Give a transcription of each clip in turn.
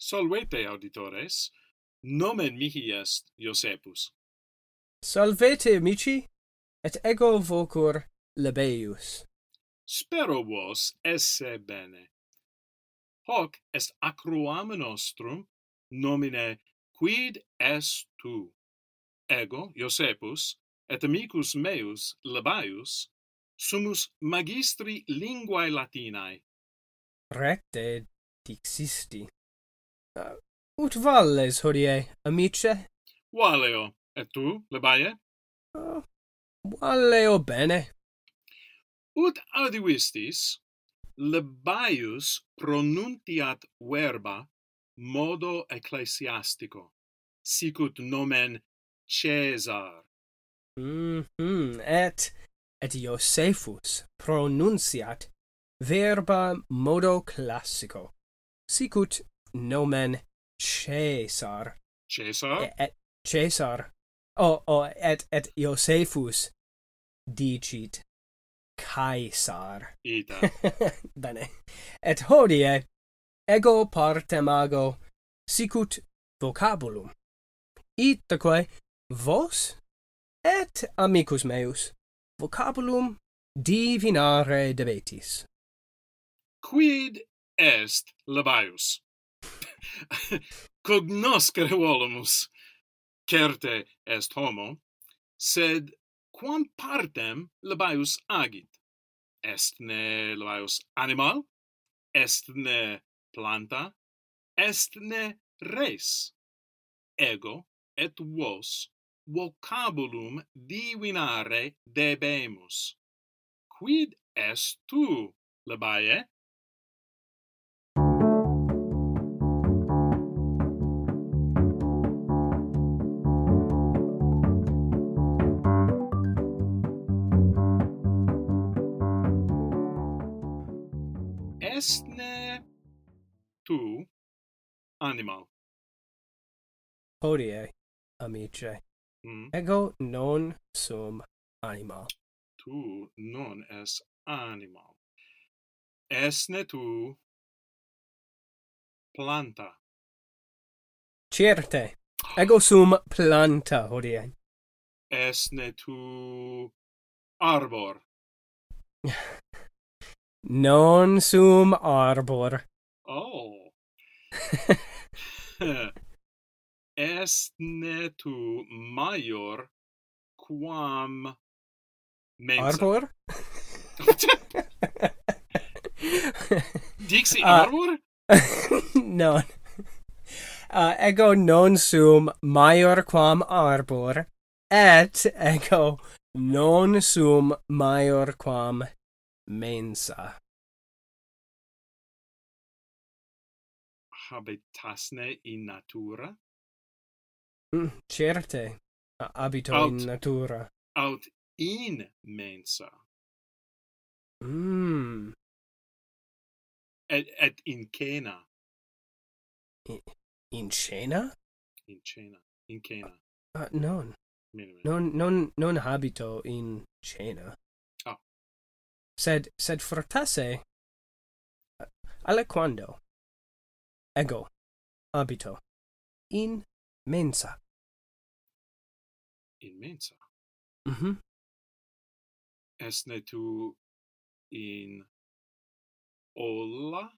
Solvete, auditores, nomen mihi est Iosepus. Salvete, amici, et ego vocur lebeius. Spero vos esse bene. Hoc est acroam nostrum nomine quid est tu. Ego, Iosepus, et amicus meus, Lebaius, sumus magistri linguae Latinae. Recte dixisti. Uh, ut valles hodie, amice? Valeo, et tu, Lebae? Uh, valeo bene. Ut audivistis, Lebaius pronuntiat verba modo ecclesiastico, sicut nomen Caesar. Mhm, et et Iosephus pronunciat verba modo classico. Sicut nomen Caesar Caesar? e- et Caesar. O o et et Iosephus dicit Caesar. Ita. Bene. Et hodie ego partem ago sicut vocabulum. Itaque vos et amicus meus vocabulum divinare debetis. Quid est Lebaius? Cognoscere volumus, certe est homo, sed quam partem Lebaius agit? Est ne Lebaius animal? Est ne planta? Est ne res? Ego et vos vocabulum divinare debemus. Quid est tu, Lebae? Esne tu animal. Hodie amice Mm? ego non sum anima. Tu non es animal. Esne tu planta. Certe ego sum planta hodie. Esne tu arbor. Non sum arbor. Oh. Esne tu maior quam mensa. Arbor? Dixi Ah. arbor? non. Uh, ego non sum maior quam arbor, et ego non sum maior quam mensa. Habitasne in natura? Mm, certe, a- abito Aut. in natura. aut in mensa Mm. et et in cena In cena? in cena in cena Uh, non. minimum Non, non, non habito in cena. Oh. Sed, sed fortasse, uh, aliquando, ego, habito, in mensa. in mensa Mm-hmm. esne tu in olla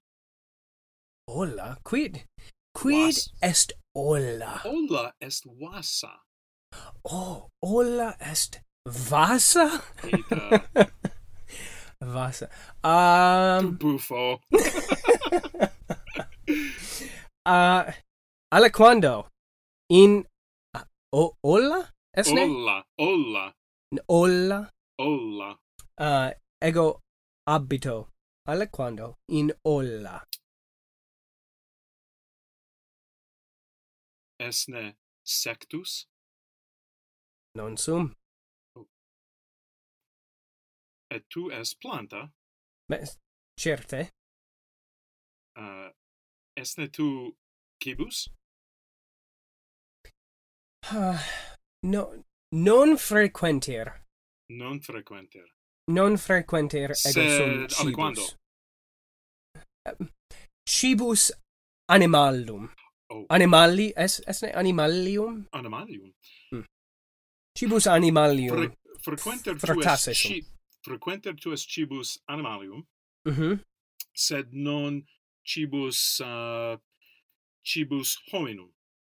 Olla, quid? Quid Was. est olla? olla est vasa Oh, olla est vasa? Eta. vasa. Um, buffo uh, aliquando, in, uh, o, olla? Esne? olla olla N- olla olla uh, ego abito aliquando in olla esne sectus non sum et tu es planta mes certe uh, esne tu cibus Ah, no non frequenter non frequenter non frequenter ego sum Sed aliquando. cibus cibus animalum Oh, Animali, es, esne animalium? animalium. Cibus animalium. Fre- frequenter tu est Fructaceum. ci- frequenter tu est cibus animalium, Mhm. sed non cibus uh, cibus hominum.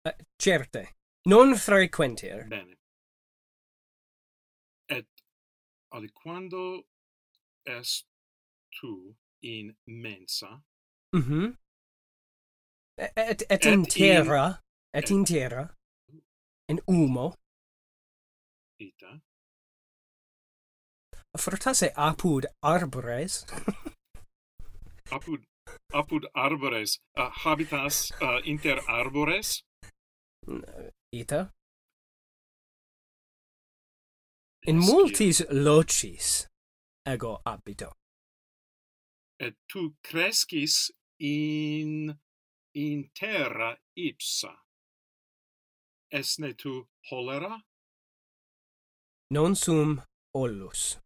Eh, certe. Non frequenter. Bene. Et aliquando est tu in mensa Mhm. Et, et, et Et in in- terra. Et et- in terra. In umo. ita Fortasse apud arbores. apud apud arbores uh, habitas uh, inter arbores Ita. In Scio. multis locis ego abito. et tu crescis in in terra ipsa esne tu cholera Non sum ollus.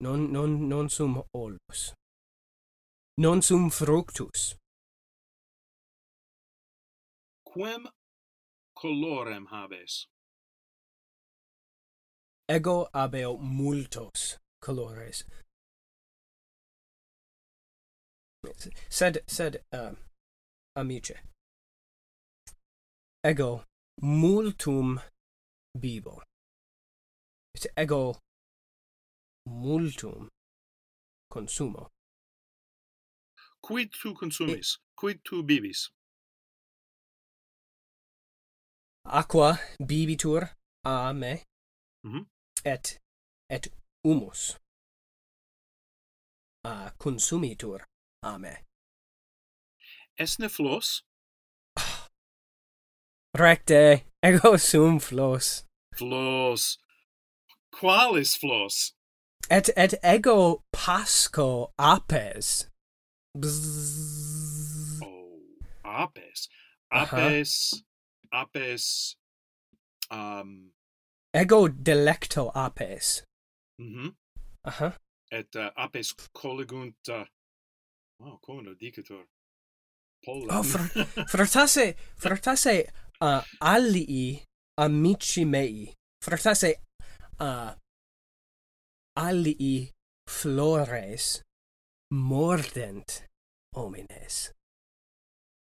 Non, non, non sum ollus. Non sum fructus. quem colorem habes Ego abeo multos colores. S- Sed, sed, uh, amice. Ego multum bibo. Et ego multum consumo. quid tu consumis quid tu bibis Aqua bibitur a me Mhm. et et humus a consumitur a me. esne flos Recte ego sum flos flos qualis flos et et ego pasco apes. Bzzz. Oh, apes. Aha. Apes. Apes. Um, Ego delecto apes. mhm. Uh-huh. Et uh, apes collegunt. Uh, wow, como lo dicetur? Polla. Oh, fr- fratasse fratasse uh, alii amici mei. Fratasse uh, alii flores mordent homines.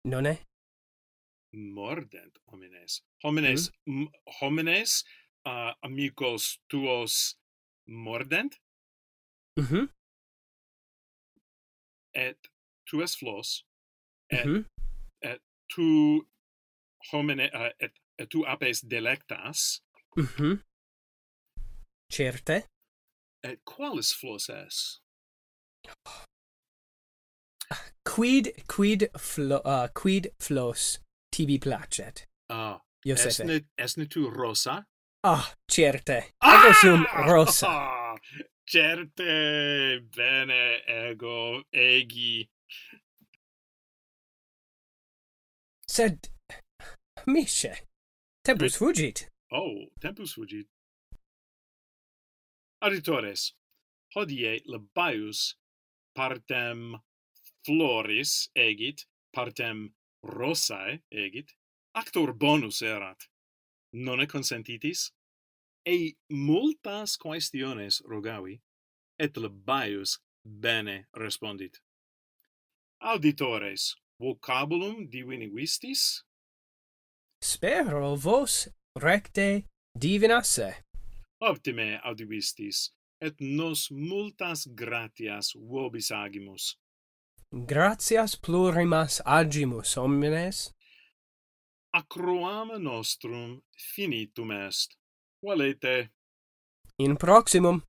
Nonne? Mordent homines. Homines. M- homines. Uh, amicos tuos mordent. Mhm. Et tu es flos. Et mhm. tu homine. Uh, et, et tu apes delectas. Mhm. Certe. Et qualis flos es? Quid quid flo, uh, quid flos tibi placet. Ah. Iosefe. Esne, esne tu rosa? Ah, certe. Ego sum rosa. Ah! Certe! Bene, ego, egi. Sed misce tempus fugit. Oh, tempus fugit. Auditores, hodie labaius partem floris egit, partem rosae egit, actor bonus erat. Nonne consentitis? Ei multas quaestiones rogavi, et labaius bene respondit. Auditores, vocabulum divinivistis? Spero vos recte divinasse. optime audivistis, et nos multas gratias vobis agimus. Gratias plurimas agimus homines. Acroam nostrum finitum est. Valete. In proximum.